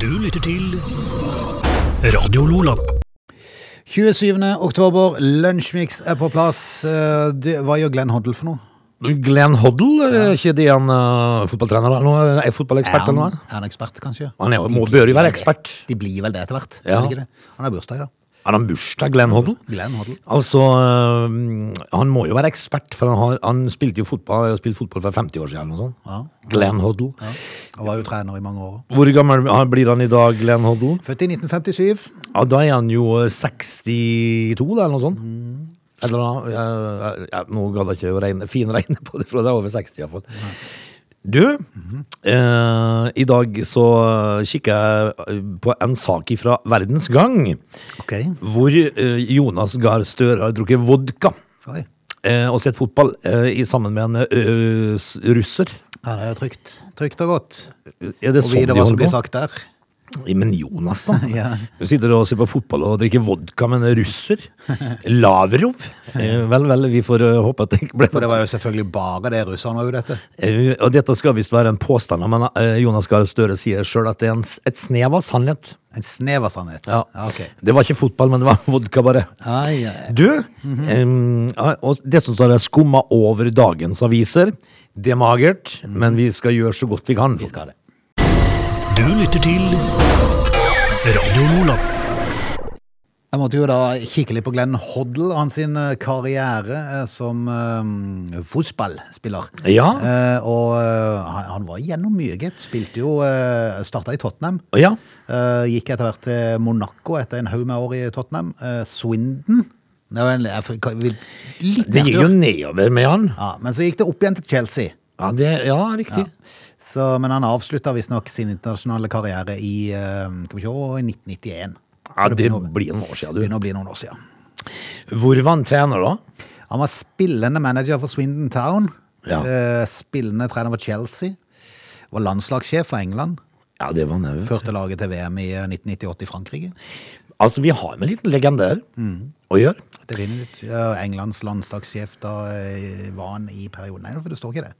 Du lytter til Radio Lola. 27. oktober, Lunsjmix er på plass. Eh, Det, hva gjør Glenn Hoddle for noe? Glenn Hoddle, er ikke det han eh, fotballtrener da? Nå er jeg fotballekspert er, eller han, noe? er han ekspert, kanskje? Han er jo- må- bør jo være ekspert. De blir vel det etter hvert? Ja. er det ikke det? Han har bursdag, da. Er han bursdag, Glenn Hoddle? Glenn Hoddle. Altså, eh, han må jo være ekspert, for han, har, han spilte jo fotball, har spilt fotball for 50 år siden eller noe sånt. Ja. Glenn Hoddle. Ja. Han var jo trener i mange år. Hvor gammel han- blir han i dag, Glenn Hoddle? Født i 1957. Ja, da er han jo eh, 62, da, eller noe sånt. Mm. Eller noe, jeg, jeg, nå gadd jeg ikke å regne, finregne på det, for det er over 60 iallfall. Du, Mhm. eh, i dag så kikker jeg på en sak fra Verdens Gang, Ok. hvor eh, Jonas Gahr Støre har drukket vodka Oi. eh, og sett fotball eh, i sammen med en eh, s- russer. Ja, det er jo trygt. Trygt og godt. Er det Og sånn de videre hva som blir holder på? sagt der. Ja, Men Jonas, da. Ja. Du sitter og ser på fotball og drikker vodka med en russer. Lavrov. Eh, Vel, vel, vi får eh, håpe at det ikke ble For det var jo selvfølgelig bare det russerne var ute etter. Eh, Og dette skal visst være en påstand, men eh, Jonas Gahr Støre sier sjøl at det er en, s- et snev av sannhet. En snev av sannhet. Ja. ok. Det var ikke fotball, men det var vodka, bare. Ai, ai. Du, eh, ja, og det som står skumma over dagens aviser, det er magert, men vi skal gjøre så godt vi kan. Vi skal det. Du lytter til Radio Lola. Jeg måtte jo da kikke litt på Glenn Hoddle, hans sin eh, karriere eh, som eh, fotballspiller. Ja. Eh, og eh, han, han var gjennom mye, gitt. Spilte jo uh, Starta i Tottenham. Ja. Eh, gikk etter hvert til Monaco etter en haug med år i Tottenham. Eh, Swindon det var en, jeg, f- kan- vil, Litt Det gikk jo nedtur. nedover med han. Ja, Men så gikk det opp igjen til Chelsea. Ja, det, ja riktig. Så, men han avslutta visstnok sin internasjonale karriere i eh, skal vi se, 1991. Ja, Det blir noen år Det siden, du. begynner å bli noen år siden. Hvor var han trener, da? Han var spillende manager for Swindon Town. Ja. eh, Spillende trener for Chelsea. Var landslagssjef for England. Ja, det var han òg. Førte laget til VM i eh, 1998 i Frankrike. Altså, vi har med en liten legende her Mm. å gjøre. Definitivt. Eh, Englands landslagssjef da eh, var han i perioden. Nei, for det står ikke det.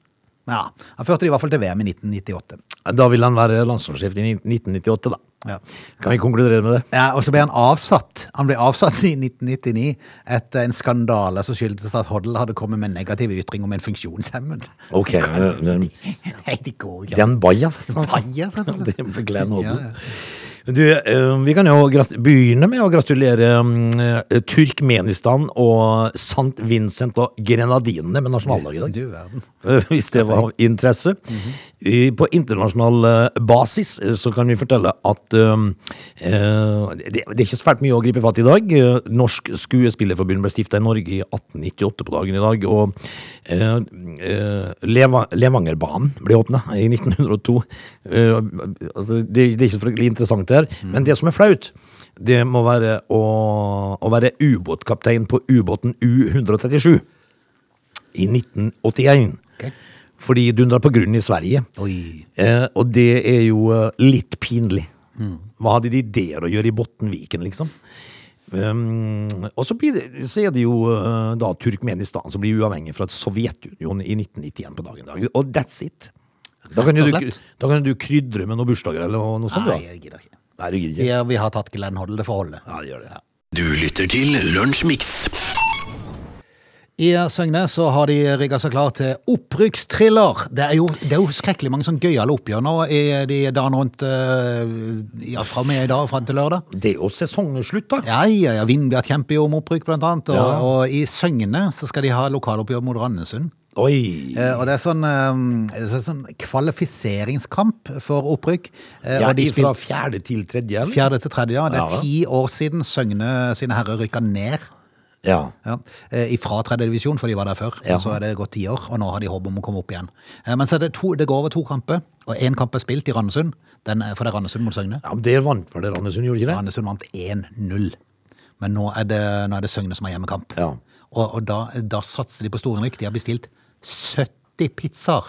Men ja, Han førte de i hvert fall til VM i 1998. Da vil han være landslagssjef i 1998, da. Ja. Kan vi konkludere med det? Ja, og så ble han avsatt. Han ble avsatt i 1999 etter en skandale som skyldtes at Hoddle hadde kommet med en negativ ytring om en funksjonshemmet. Ok, den, Nei, det går ikke. den bajas. altså. Bajas, Ja, rett og det slett. er Glenn Odden. Ja, ja. Du, eh, vi kan jo grat begynne med å gratulere mm, eh, Turkmenistan og St. Vincent og Grenadinene med nasjonaldag i dag. Du verden. Eh, hvis det var av interesse. I- På internasjonal eh, basis eh, så kan vi fortelle at um, eh, det, det er ikke så fælt mye å gripe fatt i i dag. Eh, Norsk Skuespillerforbund ble stifta i Norge i 1898 på dagen i dag, og eh, eh, Leva, Levangerbanen ble åpna i 1902. Eh, altså, det, det er ikke så fryktelig interessant det her, men det som er flaut, det må være å, å være ubåtkaptein på ubåten U-137 i 1981. Ok. Fordi dundra på grunn i Sverige. Oi. Eh, og det er jo eh, litt pinlig. Mm. Hva hadde de der å gjøre i Bottenviken, liksom? Um, og så, blir det, så er det jo eh, da Turkmenistan som blir uavhengig fra Sovjetunionen i 1991 på dagen i dag. Og that's it. Da kan, jo Rett og du, slett. da kan jo du krydre med noen bursdager eller noe, noe sånt. Nei, Da. jeg gidder ikke. Nei, du gidder Vi, ikke. vi har tatt Glenn Hoddle, det får holde. Ja, det gjør det. Du lytter til Lunsjmix. I eh, Søgne så har de rigga seg klar til opprykkstriller. Det er jo, det er jo skrekkelig mange sånn gøyale oppgjør nå i de dagene rundt eh, ja, fra og med i dag og fram til lørdag. Det er jo sesongeslutt, da. Ja, ja, ja. Vindbjart kjemper jo om opprykk, blant annet. Og, Ja. og i Søgne så skal de ha lokaloppgjør mot Randesund. Oi! Eh, og det er sånn, eh, det er sånn kvalifiseringskamp for opprykk. Eh, Ja, og de fra spilte fjerde til tredje? eller? fjerde til tredje. Ja. Det Ja, er vel. ti år siden Søgne sine herrer rykka ned. Ja. Ja, eh, Fra tredje divisjon, for de var der før. Ja. Og så er det gått ti år, og nå har de håp om å komme opp igjen. Eh, Men så er det, to, det går over to kamper, og én kamp er spilt i Randesund. Den, er- for det er Randesund mot Søgne. Ja, men Det vant vel det Randesund, gjorde ikke det? Randesund vant 1-0. Men nå er, det, nå er det Søgne som har hjemmekamp. Ja. Og, og da, da satser de på storhenrykk. De har bestilt 70 pizzaer.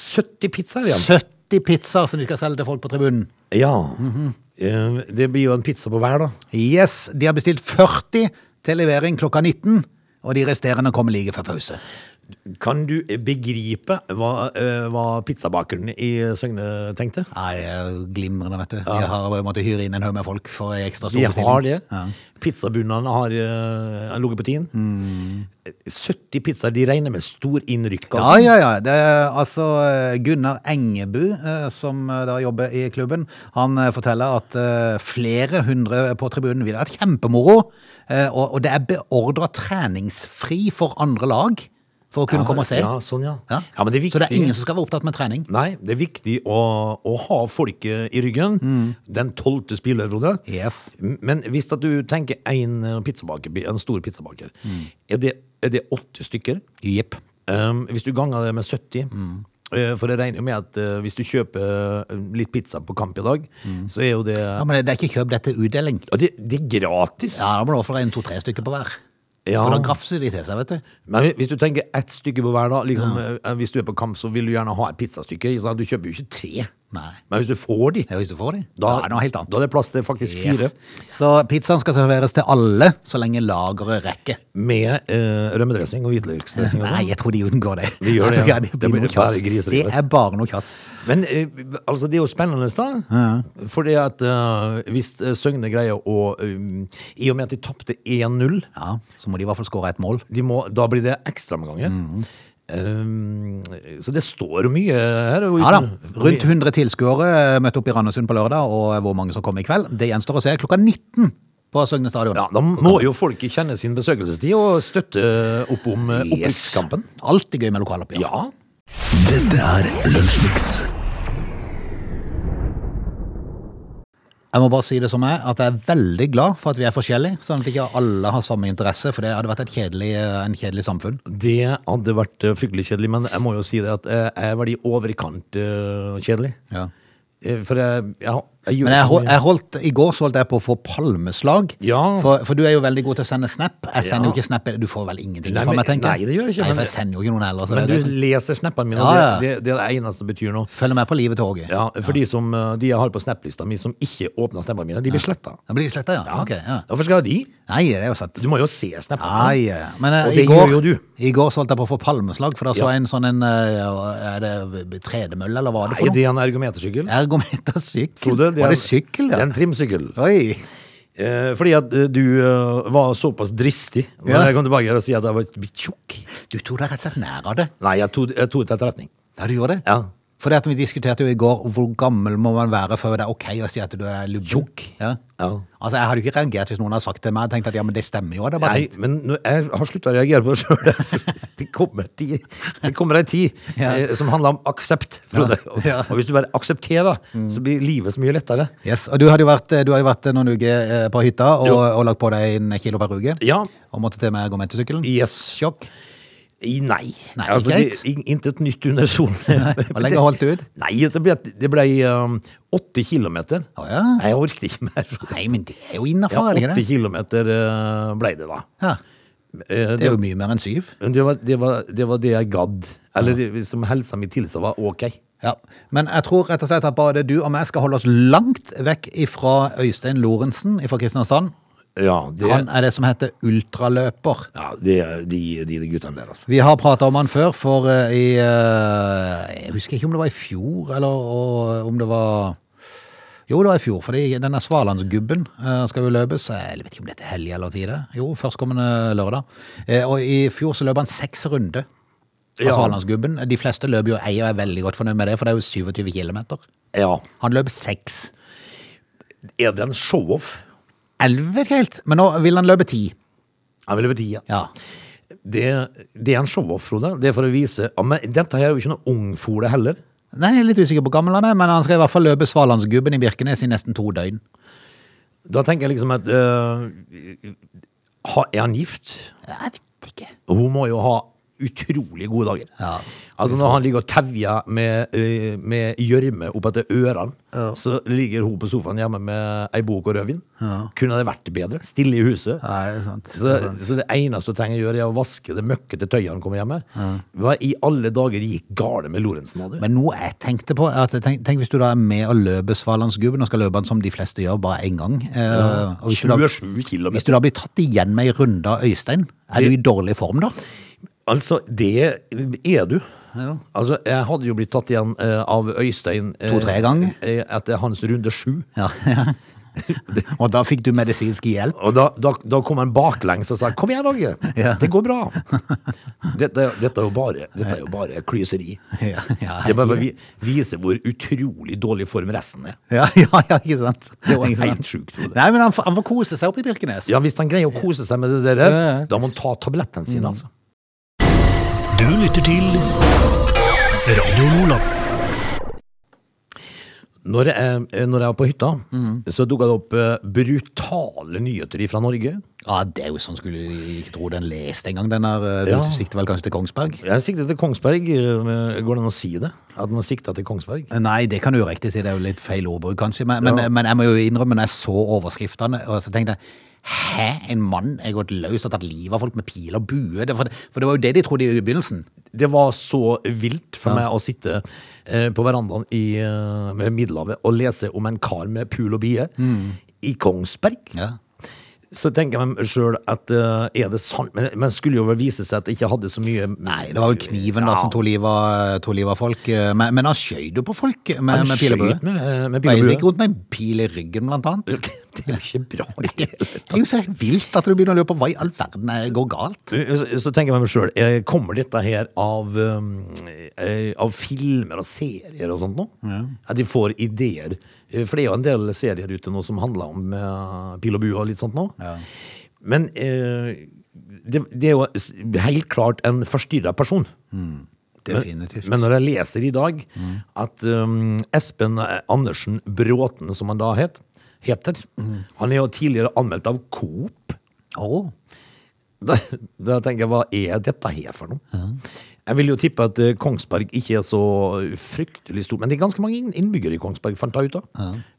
70 pizzaer igjen. 70 pizzaer som de skal selge til folk på tribunen. Ja. Eh, Det blir jo en pizza på hver, da. Yes, de har bestilt 40 til levering klokka 19. Og de resterende kommer like før pause. Kan du begripe hva, eh, hva pizzabakeren i Søgne tenkte? Nei, jeg er glimrende, vet du. Jeg har på en måte hyret inn en haug med folk for ei ekstra De har det. Ja. Pizzabunnene har uh, ligget på tiden. 70 pizzaer de regner med stor innrykk. Ja, Altså. Mm. ja, ja. Det er, altså, eh, Gunnar Engebu, eh, som eh, da jobber i klubben, han eh, forteller at eh, flere hundre på tribunen ville vært kjempemoro. eh, Og, og det er beordra treningsfri for andre lag for å kunne komme og se. Ja, sånn, ja. Ja. Ja, men det er Så det er viktig- ingen som skal være opptatt med trening. Nei, det er viktig å, å ha folket i ryggen. Mm. Den tolvte spiller, Frode. Yes. Men hvis at du tenker en, eh, pizzabaker, en stor pizzabaker, er, det, er det åtte stykker? Mm. Jepp. Mm. Um, hvis du ganger det med 70 eh, For jeg regner jo med at eh, hvis du kjøper eh, litt pizza på kamp i dag, Mm. så er jo det Ja, men det er ikke kjøp, dette er utdeling. Ja, det, det er gratis. Ja, da må du også regne to-tre stykker på hver. Ja. For da grafser de til seg, vet du. Men hvis du tenker ett stykke på hver, da liksom, eh, Hvis du er på kamp, så vil du gjerne ha et pizzastykke. ikke sant? Du kjøper jo ikke tre. Nei. Men hvis du får de, Ja, hvis du får de. Da, da, er det noe helt annet. da er det plass til faktisk fire. Yes. Så pizzaen skal serveres til alle så lenge lageret rekker. Med eh, rømmedressing og hvitløksdressing. og sånn. Nei, jeg tror de unngår det. De gjør Jeg det, tror ja. ikke Det det, blir blir noe bare kjass. griserier. det er bare noe kjass. Men eh, altså, det er jo spennende, da. Fordi at eh, hvis eh, Søgne greier å um, I og med at de tapte 1-0, Ja, så må de i hvert fall skåre et mål. de må- da blir det ekstraomganger. Mhm. Um, så det står jo mye her. og Ja da, uten- Rundt 100 tilskuere eh, møtte opp i Randesund på lørdag, og eh, hvor mange som kom i kveld, det gjenstår å se. Klokka 19 på Søgne stadion. Ja, Da må jo folk kjenne sin besøkelsestid og støtte opp om eh, Yes. opprykkskampen. Alltid gøy med lokaloppgjør. Ja. Dette er Lunsjmix. Jeg må bare si det som er, at jeg er veldig glad for at vi er forskjellige, sånn at ikke alle har samme interesse, for det hadde vært et kjedelig, en kjedelig samfunn. Det hadde vært eh, fryktelig kjedelig, men jeg må jo si det at eh, jeg er veldig overkant eh, kjedelig. Ja. Eh, For jeg, jeg, jeg gjør Men jeg, ikke så hol- mye. jeg holdt, i går så holdt jeg på å få palmeslag. Ja. For, for du er jo veldig god til å sende snap. Jeg sender jo Ja. ikke snap. Du får vel ingenting Nei, fra men- meg, tenker nei, det gjør jeg ikke, Nei, men- for jeg sender jo ikke noen heller. Så det Men er du greit. leser snappene Ja, mine, og ja. Det, det, det er det eneste som betyr noe. Følg med på livet til Åge. Ja, for de som eh, de jeg har på snap-lista mi som ikke åpner snappene mine, de blir sletta. Det blir sletta, ja. Ok, ja. Hvorfor skal jeg ha de? Nei, det er jo sant. Du må jo se snappene. Nei, ja. men eh, Og i, det går, gjør jo du. i går så holdt jeg på å få palmeslag, for da så Ja. jeg en sånn en eh, Er det tredemølle, eller hva er det Er for noe? det en ergometersykkel? Ergometersykkel? Frode, Var det sykkel, Det ja? er en trimsykkel. Oi. Eh, fordi at eh, du eh, var såpass dristig når Ja. jeg kom tilbake her og sier at jeg var litt tjukk. Du tok deg rett og slett nær av det. Nei, jeg tok jeg tok det til etterretning. Ja, du gjorde det? Ja. For det at vi diskuterte jo i går hvor gammel må man være før det er ok å si at du er lubben. Tjukk. Ja. Ja. Altså, jeg hadde jo ikke reagert hvis noen hadde sagt til meg og tenkt at ja, men det stemmer jo. Det er bare Nei, tenkt. men nå- jeg har slutta å reagere på det sjøl. Det kommer en tid, det kommer en tid Ja. eh, som handler om aksept. Frode. Ja. Og, Ja. Mm. og hvis du bare aksepterer, så blir livet så mye lettere. Yes, og du, hadde jo vært, eh, du har jo vært noen uker eh, på hytta og, Jo. og lagt på deg en kilo per uke. Ja. Og måtte til med argumentersykkelen. Yes. Sjokk. I- Nei. Nei, Altså, det, greit. in- Intet nytt under solen. Hvor lenge holdt du ut? Nei, det ble, det ble um, åtte kilometer. Å ja. Nei, Jeg orket ikke mer. Frode. Nei, men det er jo Ja, innafor, er det 80 ikke det? kilometer eh, ble det da. Ja, Eh, det er jo mye mer enn syv. Men det var, det, var, det var det jeg gadd. Eller det, som helsa mi tilsa var ok. Ja, Men jeg tror rett og slett at både du og meg skal holde oss langt vekk ifra Øystein Lorentzen fra Kristiansand. Ja, det, Han er det som heter ultraløper. ja, det de, de, de guttene der, altså. Vi har prata om han før, for eh, i eh, Jeg husker ikke om det var i fjor, eller og, om det var Jo, det var i fjor, fordi denne Svalandsgubben eh, skal jo løpes. eh, Jeg vet ikke om det er til helg eller tide. Jo, førstkommende lørdag. Eh, Og i fjor så løp han seks runder. Av Ja. Svalandsgubben. De fleste løper jo ei, og er veldig godt fornøyd med det, for det er jo 27 km. Ja. Han løp seks. Er det en show-off? Jeg vet ikke helt, men nå vil han løpe ti. Jeg ville bety ja. Ja. Det, det er en show-off, Frode. Det er for å vise ja, Men dette her er jo ikke noe ungfole heller. Nei, jeg er litt usikker på gammel han er, men han skal i hvert fall løpe Svalandsgubben i Birkenes i nesten to døgn. Da tenker jeg liksom at eh, ha, Er han gift? Jeg vet ikke. Hun må jo ha utrolig gode dager. Ja. Altså Når han ligger og tevjer med eh, med gjørme oppetter ørene, så ligger hun på sofaen hjemme med ei bok og rødvin. Kunne det vært bedre? Stille i huset. Nei, det er sant. Så, så det eneste du trenger å gjøre, er å vaske det møkkete tøyet han kommer hjem med. Hva i alle dager gikk gale med Lorentzen? hadde? Men noe jeg tenkte på, er at tenk, tenk hvis du da er med og løper Svalandsgubben, og skal løpe den som de fleste gjør, bare én gang. Eh, og hvis, du da, 27 hvis kilometer. du da blir tatt igjen med ei runde av Øystein, er du i dårlig form da? Altså, det er du. Ja. Altså, jeg hadde jo blitt tatt igjen eh, av Øystein eh, To-tre ganger. eh, etter hans runde sju. Ja. Og da fikk du medisinsk hjelp. Og da, da, da kom han baklengs og sa 'Kom igjen, Åge! Ja. Det går bra!' Dette, dette, er jo bare, dette er jo bare klyseri. Ja, ja, Det er bare for å vi- vise hvor utrolig dårlig form resten er. ja, ja, ja ikke sant? Det var Ikke sant? helt sjukt. Frode. Nei, men han, får- han får kose seg oppe i Birkenes. Ja, Hvis han greier å kose seg med det der, Ja, Mm. ja. da må han ta tablettene sine. altså. Du lytter til Radio Nordland. Når jeg, eh, når jeg var på hytta, Mm. så dukka det opp eh, brutale nyheter fra Norge. Ja, det er jo sånn skulle jeg ikke tro den leste engang. Den er eh, Ja. Du sikter vel kanskje til Kongsberg? Jeg siktet til Kongsberg. eh, Går det an å si det? At man sikta til Kongsberg? Nei, det kan du jo riktig si. Det er jo litt feil ordbruk, kanskje. Men, men, men jeg må jo innrømme, når jeg så overskriftene, og så tenkte jeg Hæ, en mann er gått løs og tatt livet av folk med pil og bue? Det- For, for det var jo det de trodde i begynnelsen. Det var så vilt for meg å sitte eh, på verandaen i eh, ved Middelhavet og lese om en kar med pul og bie i Kongsberg. Mm. Ja. Så tenker jeg meg sjøl at eh, er det sant? Men, men skulle jo vel vise seg at det ikke hadde så mye Nei, det var jo kniven da som tok livet av- tok livet av folk. eh, Men, men han skjøt jo på folk med, Han med pil og bue. skjøt med- med pil og Veier bue. seg ikke rundt med en pil i ryggen, blant annet. Det er jo ikke bra. i det hele tatt. Det er jo så vilt at du begynner å lure på hva i all verden er- går galt. Så så tenker jeg meg sjøl, kommer dette her av, um, eh, av filmer og serier og sånt nå? At de får ideer? Eh, For det er jo en del serier ute nå som handler om eh, pil og bue og litt sånt nå. Men eh, det, det er jo s- helt klart en forstyrra person. Definitivt. Men når jeg leser i dag at um, Espen Andersen Bråten, som han da het, heter, han er jo tidligere anmeldt av Coop. Å, Da, da tenker jeg, hva er dette her for noe? Jeg vil jo tippe at eh, Kongsberg ikke er så fryktelig stor, men det er ganske mange inn- innbyggere i Kongsberg, fant jeg ut av.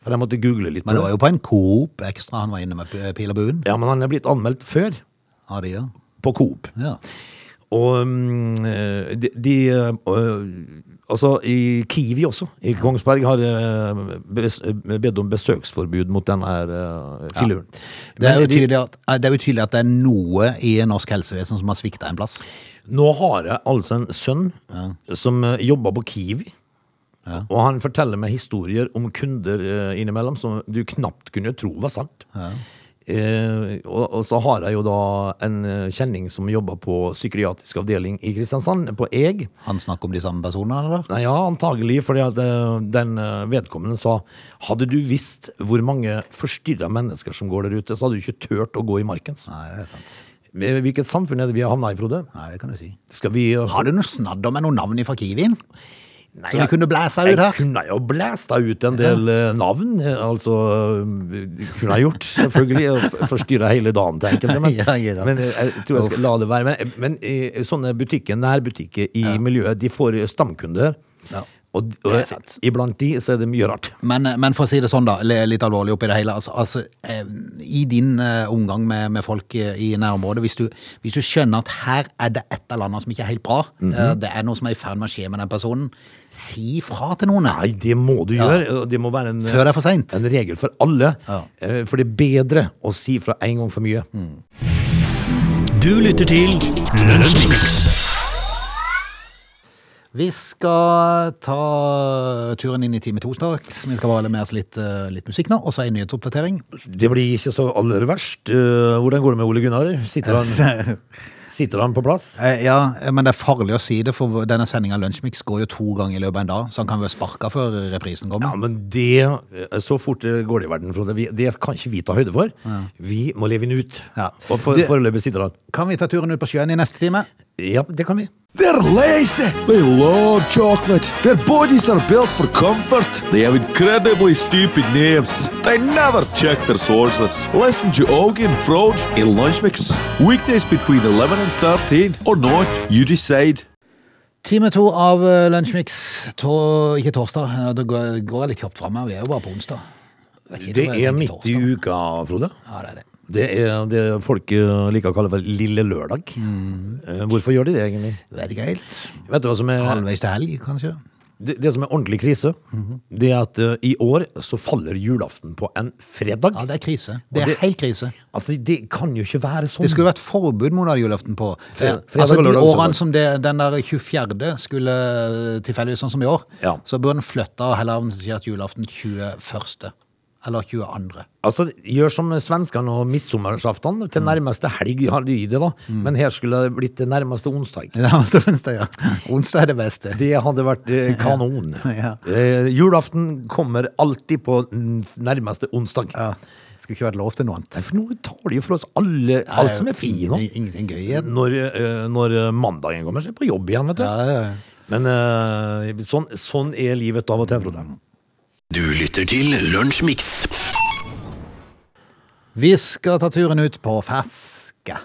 For jeg måtte google litt. på men det det. var jo på en Coop ekstra han var inne med p- pil og buen. Ja, men han er blitt anmeldt før, Ja, det gjør. på Coop. Ja. Og mm, eh, de, de eh, Altså, i Kiwi også. I Kongsberg har eh, bes- bedt om besøksforbud mot denne her eh, filuren. Det er, Men jo de- tydelig at, eh, det er jo tydelig at det er noe i norsk helsevesen som har svikta en plass. Nå har jeg altså en sønn som eh, jobber på Kiwi. Og han forteller meg historier om kunder eh, innimellom som du knapt kunne tro var sant. Eh, og, og så har jeg jo da en eh, kjenning som jobber på psykiatrisk avdeling i Kristiansand, på EG. Han snakker om de samme personene, eller? Nei, ja, antagelig, fordi at eh, den eh, vedkommende sa Hadde du visst hvor mange forstyrra mennesker som går der ute, så hadde du ikke turt å gå i markens. Nei, det er sant. Eh, Hvilket samfunn er det vi har havna i, Frode? Nei, det kan du si. Skal vi eh, Har du noe snadder med noen navn fra Kiwien? Nei, Som vi jeg- kunne blæsa ut Jeg her? kunne jo blæsta ut en del eh, navn, eh, altså eh, Kunne jeg gjort, selvfølgelig. Og f- forstyrra hele dagen til enkelte. Men, Ja, ikke sant. men eh, jeg tror jeg skal la det være. Men, men eh, sånne butikker, nærbutikker i miljøet, de får eh, stamkunder. Ja. Og, d- Det er og sant. iblant de så er det mye rart. Men, men for å si det sånn, da, le- litt alvorlig oppi det hele. Altså, altså, eh, I din eh, omgang med, med folk eh, i nærområdet, hvis du, hvis du skjønner at her er det et eller annet som ikke er helt bra, Mhm. eh, det er noe som er i ferd med å skje med den personen, si fra til noen eh, Nei, det må du gjøre. og Det må være en, eh, før det er for seint. en regel for alle. Ja. Mm. eh, For det er bedre å si fra en gang for mye. Du lytter til Lunsjmix. Vi skal ta turen inn i time to straks. Vi skal bare ha med oss litt, eh, litt musikk nå, og så en nyhetsoppdatering. Det blir ikke så aller verst. Eh, Hvordan går det med Ole Gunnar? Sitter han, sitter han på plass? Eh, Ja, men det er farlig å si det, for denne sendinga Lunsjmix går jo to ganger i løpet av en dag, så han kan være sparka før reprisen Ja, kommer. men det Så fort eh, går det i verden, Frode. Vi- Det kan ikke vi ta høyde for. Vi må leve den ut. Ja. Og for, Du- foreløpig sitter han. Kan vi ta turen ut på sjøen i neste time? Ja, det kan vi. They're lazy. They love chocolate. Their bodies are built for comfort. They have incredibly stupid names. They never check their sources. Listen to Augie and Frode in Lunch Mix. Weekdays between 11 and 13 or not, you decide. Time to av eh, Lunsjmix. To, ikke torsdag, eh, det går, går jeg litt kjapt fram her. Vi er jo bare på onsdag. Jeg Det tenker er midt i torsdag. uka, Frode. Ja, det er det. Det er det folk eh, liker å kalle for lille Mm. lørdag. Eh, Hvorfor gjør de det, egentlig? Vet ikke helt. Vet du hva som er Halvveis til helg, kanskje. Det, det som er ordentlig krise, Mhm. det er at eh, i år så faller julaften på en fredag. Ja, det er krise. Det er det- helt krise. Altså, det, det kan jo ikke være sånn. Det skulle vært forbud mot julaften på. Eh, Fre- fredag altså og De lørdag også, årene da. som det, den der 24. skulle eh, tilfeldigvis sånn som i år, Ja. så burde den flytte og heller arrangere at julaften 21. eller 22. Altså, gjør som svenskene og midtsommersaftene. Til nærmeste helg har de det, da. Mm. Men her skulle det blitt til nærmeste onsdag. Det er altså onsdag, ja. Onsdag er det beste. Det hadde vært eh, kanon. Ja. Eh, julaften kommer alltid på n- nærmeste onsdag. Ja. Skulle ikke vært lov til noe annet. Nei, For nå tar de jo for oss alle, alt som er fint nå. Ingenting- Ingenting gøy igjen. Når, eh, når eh, mandagen kommer, så er jeg på jobb igjen, vet du. Ja, ja, ja. Men eh, sånn, sånn er livet av og til, Frode. Du lytter til Lunsjmix. Vi skal ta turen ut på ferske.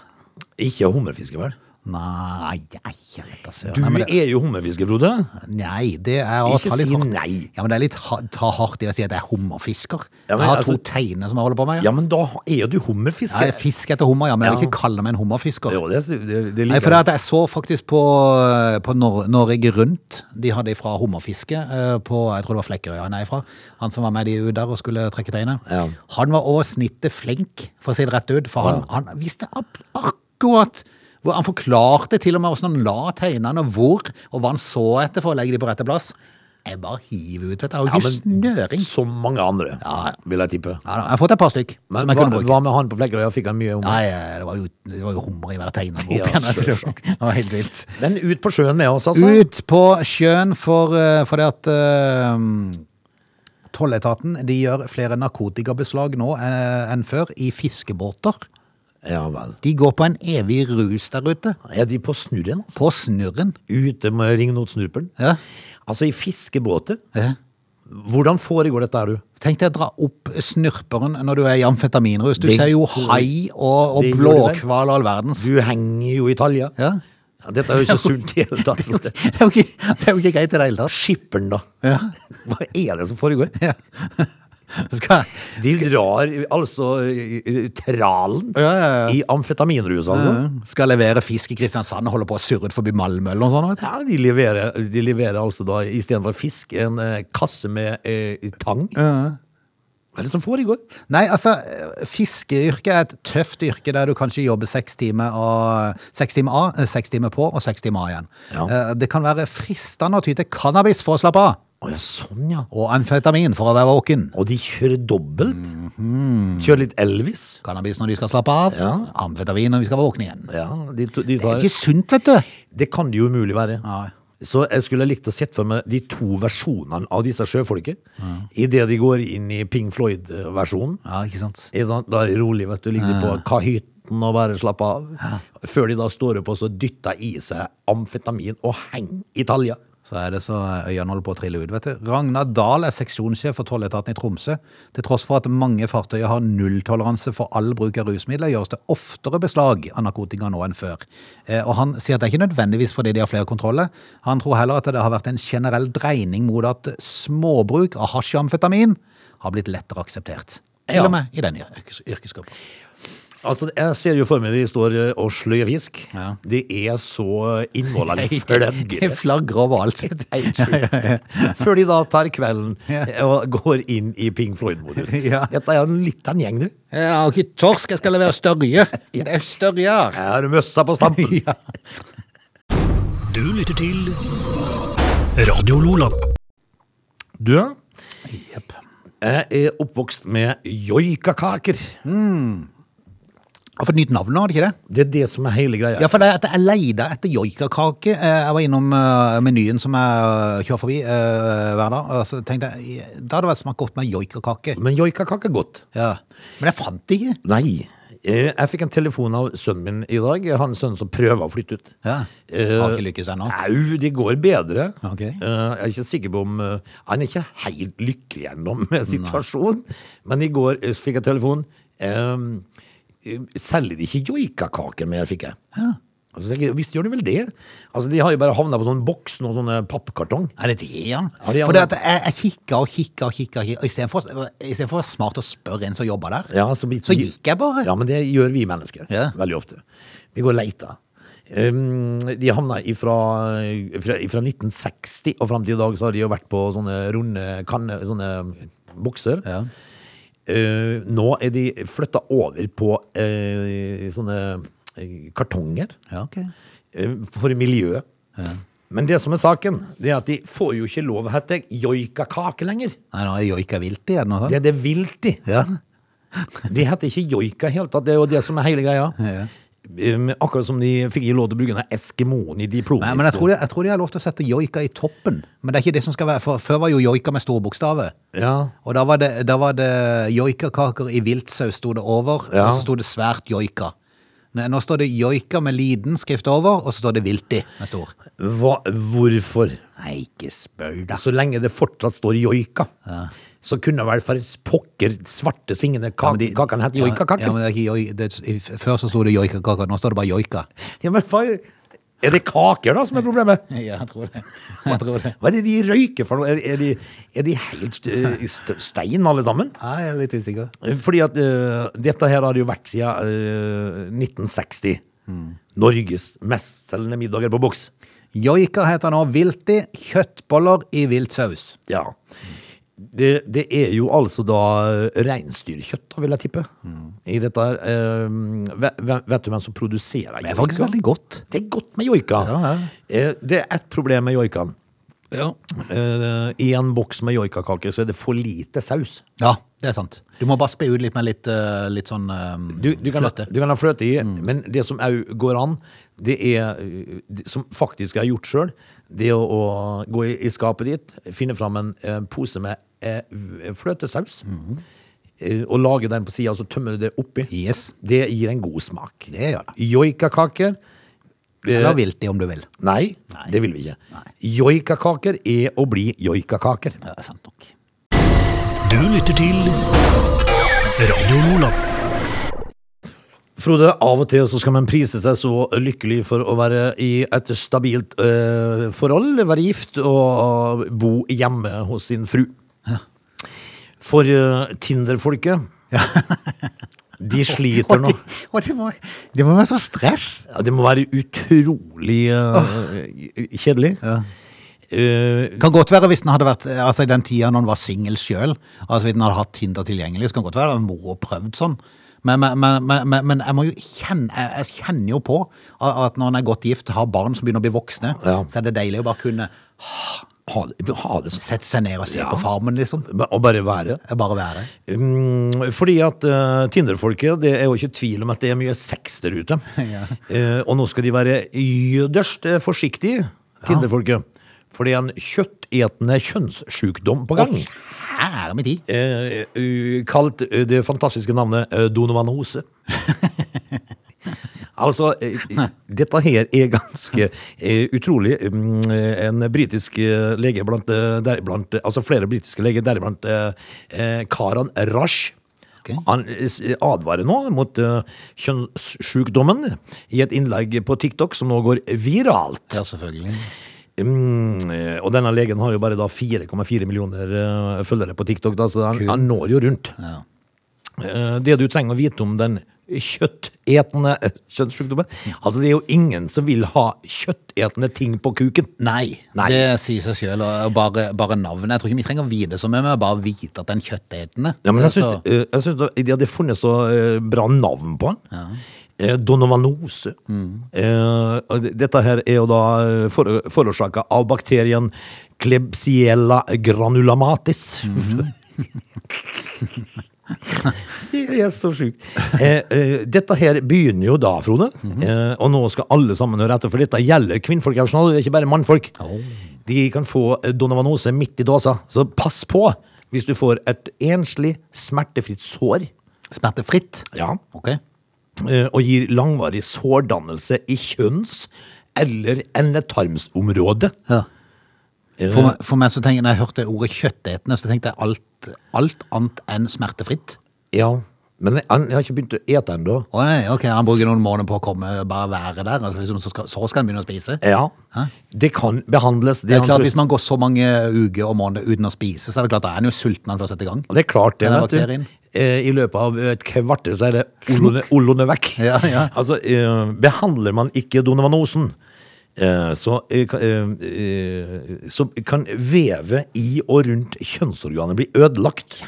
Ikke hummerfiske, vel? Nei, nei, jeg vet da søren. Du Nei, men det- er jo hummerfiske, Frode. Nei, det er sånn. å Ikke ta litt si hardt. nei. Ja, men det er litt ha, ta hardt i å si at jeg er hummerfisker. Ja, men jeg har to altså- teiner som jeg holder på med. Ja. Ja, men da er jo du Ja, jeg hummerfisker. fisker etter hummer, ja, men jeg vil Ja. ikke kalle meg en hummerfisker. Jo, det, det, det Nei, liker for det at jeg så faktisk på, på Nor Norge Rundt, de hadde fra hummerfiske eh, på, jeg tror det var Flekkerøy han er ifra, han som var med de ut der og skulle trekke teiner. Ja. Han var over snittet flink, for å si det rett ut, for han, han visste ab- akkurat hvor- han forklarte til og med hvordan han la teinene, og hvor, og hva han så etter for å legge de på rette plass. Jeg bare hiver ut, vet du, jeg har jo ikke snøring. Som mange andre, vil jeg tippe. Ja, da, jeg har fått et par stykk Men som jeg hva, kunne bruke. hva med han på Flekkerøy? Fikk han mye hummer? Nei, eh, det var jo, det var jo hummer i hver tegne. Ja, selvsagt. det var helt vilt. Men ut på sjøen med oss, altså. Ut på sjøen for, eh, for det at eh, Tolletaten de gjør flere narkotikabeslag nå eh, enn før i fiskebåter. Ja vel. De går på en evig rus der ute. Er de på snurren, altså? På snurren. Ute med ringnot-snurpen? Ja. Altså, i fiskebåter? Ja. Hvordan foregår dette, er du? Tenk deg å dra opp snurperen når du er i amfetaminrus. Du Det- ser jo hai og, og Det gjorde det. blåkval og all verdens. Du henger jo i talja. Ja. Ja, Dette er jo ikke sunt i det hele tatt. Frode. Det er jo ikke, det er jo ikke greit i det hele tatt. Skipperen, da. Ja. Hva er det som foregår? Ja. Skal, De drar altså eh, eh, tralen Ja, ja, ja. i amfetaminrus, altså. skal levere fisk i Kristiansand og holde på å surre ut forbi Malmø eller noe sånt. vet du. Ja, de leverer, de leverer altså da istedenfor fisk en eh, kasse med eh, tang. Hva er det som foregår? Nei, altså, fiskeyrket er et tøft yrke der du kanskje jobber seks timer, og, seks timer av, eh, seks timer på og seks timer av igjen. Ja. Eh, Det kan være fristende å ty til cannabis for å slappe av, Å ja, sånn ja. og amfetamin for å være våken. Og de kjører dobbelt. Mhm. Kjører litt Elvis. Cannabis når de skal slappe av, Ja. amfetamin når vi skal våkne igjen. Ja, de, to- de Det er jo tar, ikke sunt, vet du. det kan det jo umulig være. Nei. Så jeg skulle likt å sett for meg de to versjonene av disse sjøfolket. I Idet de går inn i Ping Floyd-versjonen. Ja, ikke sant? Ikke sant? Da er det rolig, vet du. Ligger de på kahytten og bare slapper av. Før de da står opp og så dytter i seg amfetamin og henger i talja. Så er det så øynene holder på å trille ut, vet du. Ragnar Dahl er seksjonssjef for tolletaten i Tromsø. Til tross for at mange fartøyer har nulltoleranse for all bruk av rusmidler, gjøres det oftere beslag av narkotika nå enn før. Eh, Og han sier at det er ikke nødvendigvis fordi de har flere kontroller. Han tror heller at det har vært en generell dreining mot at småbruk av hasj og amfetamin har blitt lettere akseptert. Til Ja. og med i denne yrkes yrkesgruppa. Altså, Jeg ser jo for meg de står eh, og sløyer fisk. Ja. Det er så innvollene Det flødger. flagrer overalt. Helt sjukt. Før de da tar kvelden eh, Ja. og går inn i Ping Floyd-modus. Ja. Dette er en liten gjeng, du. Jeg har ikke torsk, jeg skal levere størje. Det er størjer. Jeg har møssa på stampen. Ja. Du lytter til Radio Lola. Du, jeg er oppvokst med joikakaker. Har fått nytt navn nå, har de ikke det? Det er det som er hele greia. Ja, for det er at jeg leide etter joikakake. Eh, Jeg var innom eh, menyen som jeg kjører forbi eh, hver dag. Og så tenkte jeg, da hadde det vært smakt godt med joikakake. Men joikakake er godt. Ja. Men jeg fant det ikke. Nei. Eh, Jeg fikk en telefon av sønnen min i dag. Jeg har en sønn som prøver å flytte ut. Ja. Eh, Har ikke lykkes ennå. Au, det går bedre. Ok. Eh, Jeg er ikke sikker på om eh, Han er ikke helt lykkelig ennå med situasjonen, men i går eh, fikk jeg telefon. Ehm, eh, Selger de ikke joikakaker mer, fikk jeg. Altså, tenker jeg, Visst gjør de vel det? Altså, De har jo bare havna på sånn boks og sånn pappkartong. Er det det, ja? Ja, det er For det noe. at jeg, jeg kikka og kikka og kikka, og istedenfor å være smart og spørre en som jobber der, Ja, så, vi- så gikk jeg bare. Ja, men det gjør vi mennesker Ja. veldig ofte. Vi går og leter. Eh, Um, de havna ifra, fra, ifra 1960 og fram til i dag, så har de jo vært på sånne runde kanne, sånne bokser. Ja. Eh, nå er de flytta over på eh, sånne eh, kartonger Ja, ok. eh, for miljøet. Men det som er saken, det er at de får jo ikke lov å hete joikakake lenger. Nei, nå er joika vilt igjen. Og sånn. Det er det vilti. Ja. De heter ikke joika i det hele tatt. Det er jo det som er hele greia. Ja. Eh, Akkurat som de fikk ikke lov til å bruke den der eskimoen i diplomis. Nei, men jeg tror, de, jeg tror de har lov til å sette joika i toppen. Men det er ikke det som skal være, for før var jo joika med store bokstaver. ja. Og da var det, da var det joikakaker i viltsaus sto det over, Ja. og så sto det svært joika. Nei, nå står det joika med liten skrift over, og så står det vilti med stor. Hva, hvorfor? Nei, ikke spør da. Så lenge det fortsatt står joika, så kunne vel for pokker svarte svingende Ja, ka men de- kakene hett joikakaker. Ja, ja, men det er ikke joi, det, i- før så sto det joikakaker, nå står det bare joika. Ja, men hva Er det kaker da som er problemet? Ja, jeg tror det. Jeg tror det. Hva er det de røyker for noe? Er, er, de, er de helt st- i st- stein alle sammen? Ja, jeg er litt usikker. Fordi at eh, dette her har det jo vært siden eh, 1960. Mm. Norges mestselgende middager på boks. Joika heter nå vilti, kjøttboller i viltsaus. Ja. Det, det er jo altså da eh, reinsdyrkjøtt, da, vil jeg tippe. Mm. I dette her. eh, ve- ve- vet du hvem som produserer Det er faktisk joika? veldig godt. Det er godt med joika. Ja, ja. Eh, Det er ett problem med joikaen. Ja. Eh, I en boks med joikakaker så er det for lite saus. Ja, det er sant. Du må bare spe ut litt med litt, eh, litt sånn eh, Du, du, kan, fløte. Mm. Ha, du kan ha fløte i, men det som au går an, det er eh, det som faktisk jeg har gjort sjøl, det er å, å gå i, i skapet ditt, finne fram en eh, pose med eh, fløtesaus, Mm. eh, og lage den på sida, og så tømmer du det oppi. Yes. Det gir en god smak. Det gjør det. Joikakaker eh, Eller vilti, om du vil. Nei, det vil vi ikke. Joikakaker er å bli joikakaker. Ja, det er sant nok. Du lytter til Radio Lola. Frode, av og til så skal man prise seg så lykkelig for å være i et stabilt eh, forhold, være gift og bo hjemme hos sin fru. For eh, Tinder-folket, de sliter Og nå. det, og det, må, det må være så stress! Ja, det må være utrolig eh, kjedelig. Eh, Kan godt være hvis den hadde vært eh, Altså i den tida når den var singel sjøl, altså hvis den hadde hatt Tinder tilgjengelig, så kan det godt være den må ha prøvd sånn. Men, men, men, men- men, men jeg må jo kjenne jeg, jeg kjenner jo på a- at når en er godt gift, har barn som begynner å bli voksne, Ja. så er det deilig å bare kunne ha, det- ha det sånn. sette seg ned og se Ja. på farmen, liksom. Å bare være. Bare være. Mm, fordi at eh, Tinder-folket, det er jo ikke tvil om at det er mye sex der ute. Eh, og nå skal de være yderst eh, forsiktige, Tinder-folket. For det er en kjøttetende kjønnssjukdom på gang. Her er min tid. Eh, u- kalt eh, det fantastiske navnet eh, donovanose. altså, eh, dette her er ganske eh, utrolig. Mm, eh, En britisk eh, lege blant, eh, deriblant, eh, altså flere britiske leger, deriblant eh, eh, Karan Rash, Ok. han eh, s- advarer nå mot eh, kjønnssjukdommen i et innlegg på TikTok som nå går viralt. Ja, selvfølgelig. Mm, eh, og denne legen har jo bare da 4,4 millioner eh, følgere på TikTok, da, så han, han når jo rundt. Ja. Eh, det du trenger å vite om den kjøttetende eh, kjønnssykdommen Altså, det er jo ingen som vil ha kjøttetende ting på kuken. Nei, Nei. det sier seg selv, og bare, bare navnet. Jeg tror ikke vi trenger å vite så mye, men bare vite at den kjøttetende. Ja, men jeg Så- syns, eh, jeg syns da- de hadde funnet så eh, bra navn på han. Eh, Donovanose. Eh, og d- dette her er jo da eh, for, forårsaka av bakterien Klebsiella granulamatis. det er så sjukt. Eh, eh, dette her begynner jo da, Frode. Mhm. eh, og nå skal alle sammen høre etter, for dette gjelder kvinnfolk. her, skjønner du, Det er ikke bare mannfolk. De kan få eh, donovanose midt i dåsa, så pass på hvis du får et enslig, smertefritt sår. Smertefritt. Ja. Ok. Eh, og gir langvarig sårdannelse i kjønns- eller endetarmsområdet. Ja. Eh, For, meg- for meg så tenker jeg, når jeg hørte ordet kjøttetende, så tenkte jeg alt, alt annet enn smertefritt. ja. Men jeg, jeg har ikke begynt å ete ennå. Å nei, ok, han bruker noen måneder på å komme, bare være der, altså liksom, så, skal, så skal han begynne å spise. Ja. Det kan behandles. Det er han klart, trøst- hvis man går så mange uker og måneder uten å spise, så er det klart, da er han jo sulten når han først setter i gang. Og Det er klart det, Den er vet du. bakterien. eh, i løpet av et kvarter så er det ollene- ollene vekk. Ja, ja. Altså, eh, behandler man ikke Donovan Osen, eh, så, eh, kan- eh, eh, så kan vevet i og rundt kjønnsorganet bli ødelagt.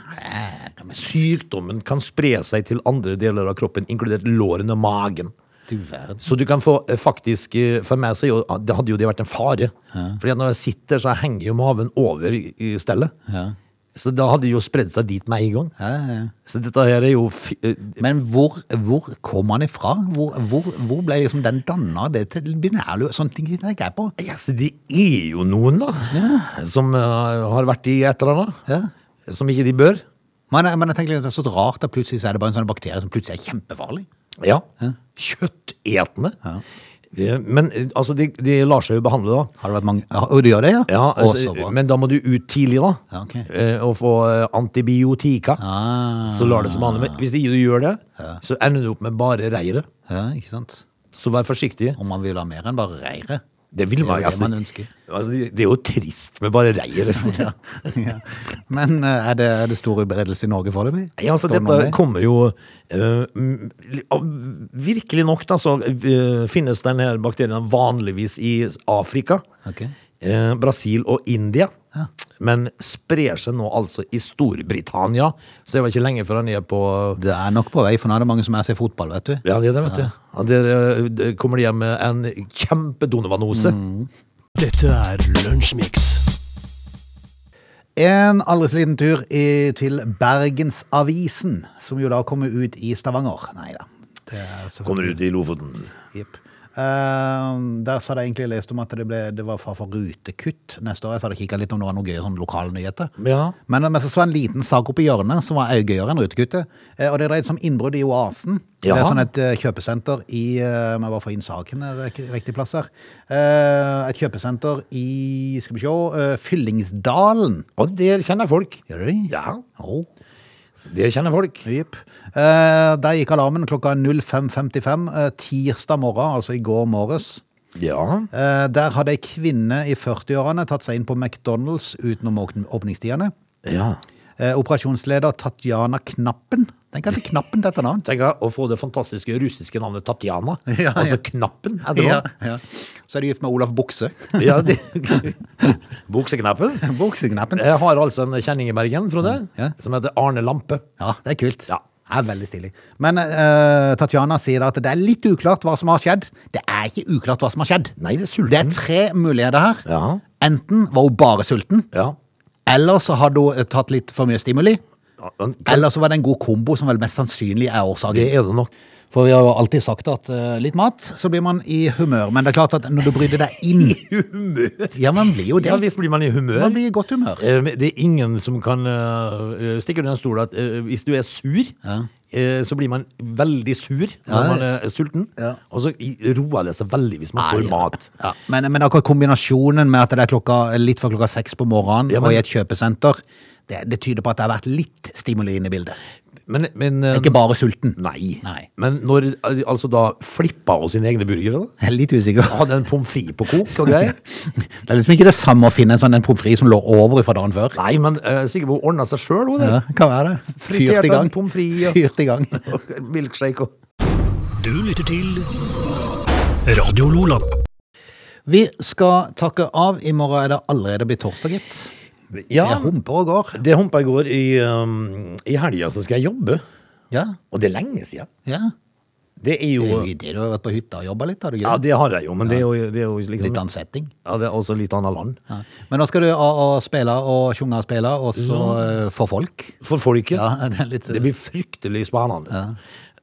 Sykdommen kan spre seg til andre deler av kroppen, inkludert lårene og magen. Du verden. Så du kan få eh, faktisk eh, For meg så er jo, det hadde jo det vært en fare. Fordi at når jeg sitter, så henger jo maven over i i stellet. Ja. Så da hadde det jo spredd seg dit med en gang. Ja, ja, ja. Så dette her er jo f- eh, Men hvor, hvor kom han ifra? Hvor, hvor, hvor ble liksom den danna? Det til binærlø... Sånne ting tenker jeg på. Yes, det er jo noen, da, som eh, har vært i et eller annet. Ja. Som ikke de bør. Men, jeg- men jeg tenker litt at det er så rart at plutselig så er det bare en sånn bakterie som plutselig er kjempefarlig. Ja. Kjøttetende. Eh, Men eh, altså, de, de lar seg jo behandle, da. Har det vært mange... Å, du gjør det, ja? Ja, Å, altså, så bra. men da må du ut tidlig, da. Ja, ok. eh, Og få eh, antibiotika. Ah. Så lar det som handler. Men hvis ikke du gjør det, så ender du opp med bare reiret. Ja, ikke sant? Så vær forsiktig. Om man vil ha mer enn bare reire. Det vil er jo man, det altså, man ønsker. altså, det- det er jo trist med bare reiret. ja. Men eh, er det, er det stor utbredelse i Norge foreløpig? Ja, altså, Står det noe om dette det? kommer jo eh, m- av- Virkelig nok, da, så eh, finnes denne bakterien vanligvis i Afrika. Ok. eh, Brasil og India. Men sprer seg nå altså i Storbritannia. Så det var ikke lenge før han er på Det er nok på vei, for nå er det mange som er ser fotball, vet du. Ja, det er det, vet du. Ja, der eh, der kommer de hjem med en kjempedonovanose. Dette er Lunsjmix. En aldri så liten tur i, til Bergensavisen, som jo da kommer ut i Stavanger. Nei da. Det er selvfølgelig- Kommer ut i Lofoten. Jepp. Ehm, der så hadde jeg egentlig lest om at det, ble, det var far for rutekutt neste år. Jeg så hadde kikket litt om det var noe gøy sånn lokale nyheter. Ja. Men, men så så jeg en liten sak oppe i hjørnet som var også gøyere enn rutekuttet. Eh, og det dreide seg om innbrudd i Oasen. Det Jaha. er sånn et eh, kjøpesenter i eh, Må jeg bare få inn saken her, rik- riktig plass her. Eh, et kjøpesenter i Skal vi se eh, Fyllingsdalen. Og der kjenner jeg folk. Gjør det det? Ja, Å, der kjenner jeg folk. Jepp. Eh, der gikk alarmen klokka 05.55 eh, tirsdag morgen, altså i går morges. Ja. Eh, Der hadde ei kvinne i 40-årene tatt seg inn på McDonald's utenom åpn- åpningstidene. ja. Eh, Operasjonsleder Tatjana Knappen Tenk at det er Knappen dette navnet. Tenk deg å få det fantastiske russiske navnet Tatjana. Ja, ja. Altså Knappen. Er det Ja, ja. ja. Så er de gift med Olaf Bukse. ja, det... Bukseknappen. Bukseknappen. Jeg har altså en kjenning i Bergen, Frode, Ja. som heter Arne Lampe. Ja, det er kult. Ja. Det er veldig stilig. Men eh, Tatjana sier at det er litt uklart hva som har skjedd. Det er ikke uklart hva som har skjedd. Nei, Det det er er sulten. tre muligheter her. Ja. Enten var hun bare sulten, Ja. eller så hadde hun eh, tatt litt for mye stimuli. Han- Eller så var det en god kombo, som vel mest sannsynlig er årsaken. Det er det nok. For vi har jo alltid sagt at eh, litt mat, så blir man i humør. Men det er klart at når du bryter deg inn Humør. Ja, man blir jo det. Ja, visst blir man i humør. Man blir i godt humør. Eh, men Det er ingen som kan eh, eh, stikke under en stol at eh, hvis du er sur, eh, så blir man veldig sur når Ja. man er sulten. Ja. Og så i- roer det seg veldig hvis man får Ja, ja. mat. Ja, men, men akkurat kombinasjonen med at det er klokka, litt før klokka seks på morgenen Ja, men- og i et kjøpesenter, det, det tyder på at det har vært litt stimuli inne i bildet. Men, men eh, Det er Ikke bare sulten. Nei. Nei. Men når eh, altså da flippa og sine egne burgere, Jeg da? er litt usikker. Hadde en pommes frites på kok og greier? Det er liksom ikke det samme å finne en sånn en pommes frites som lå over fra dagen før. Nei, men uh, Sigrid ordna seg sjøl, hun Ja, der. kan være det. Fyrt Fritert i av gang. pommes frites, ja. Fyrt i gang. Og Milkshake og Du lytter til Radio Lola. Vi skal takke av. I morgen er det allerede blitt torsdag, gitt. Ja, Det humper og går. det humpa i går. I, um, i helga så skal jeg jobbe. Ja, Og det er lenge siden. ja. Det er jo Det er jo det, Du har vært på hytta og jobba litt, har du ikke Ja, det? det har jeg jo, men det er jo, det er jo liksom Litt annen setting. ja, det er også litt annet land. Ja. Men nå skal du og, og spille og sjunge og spille, og så eh, for folk. For folket. Ja, det er litt Det blir fryktelig spennende.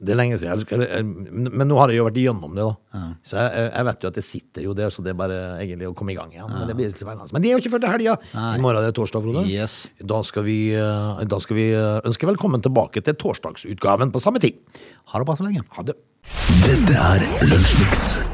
Det er lenge siden. jeg skal- jeg- Men nå har jeg jo vært igjennom det, da. Så jeg, jeg vet jo at det sitter jo der, så det er bare egentlig å komme i gang igjen. Men det blir litt spennende. Men det er jo ikke før til helga. I morgen er det torsdag, Frode. Yes. Da, skal vi, eh, da skal vi eh, ønske velkommen tilbake til torsdagsutgaven på samme tid. Ha det bra så lenge. Ha det. Dette er Lunsjmix.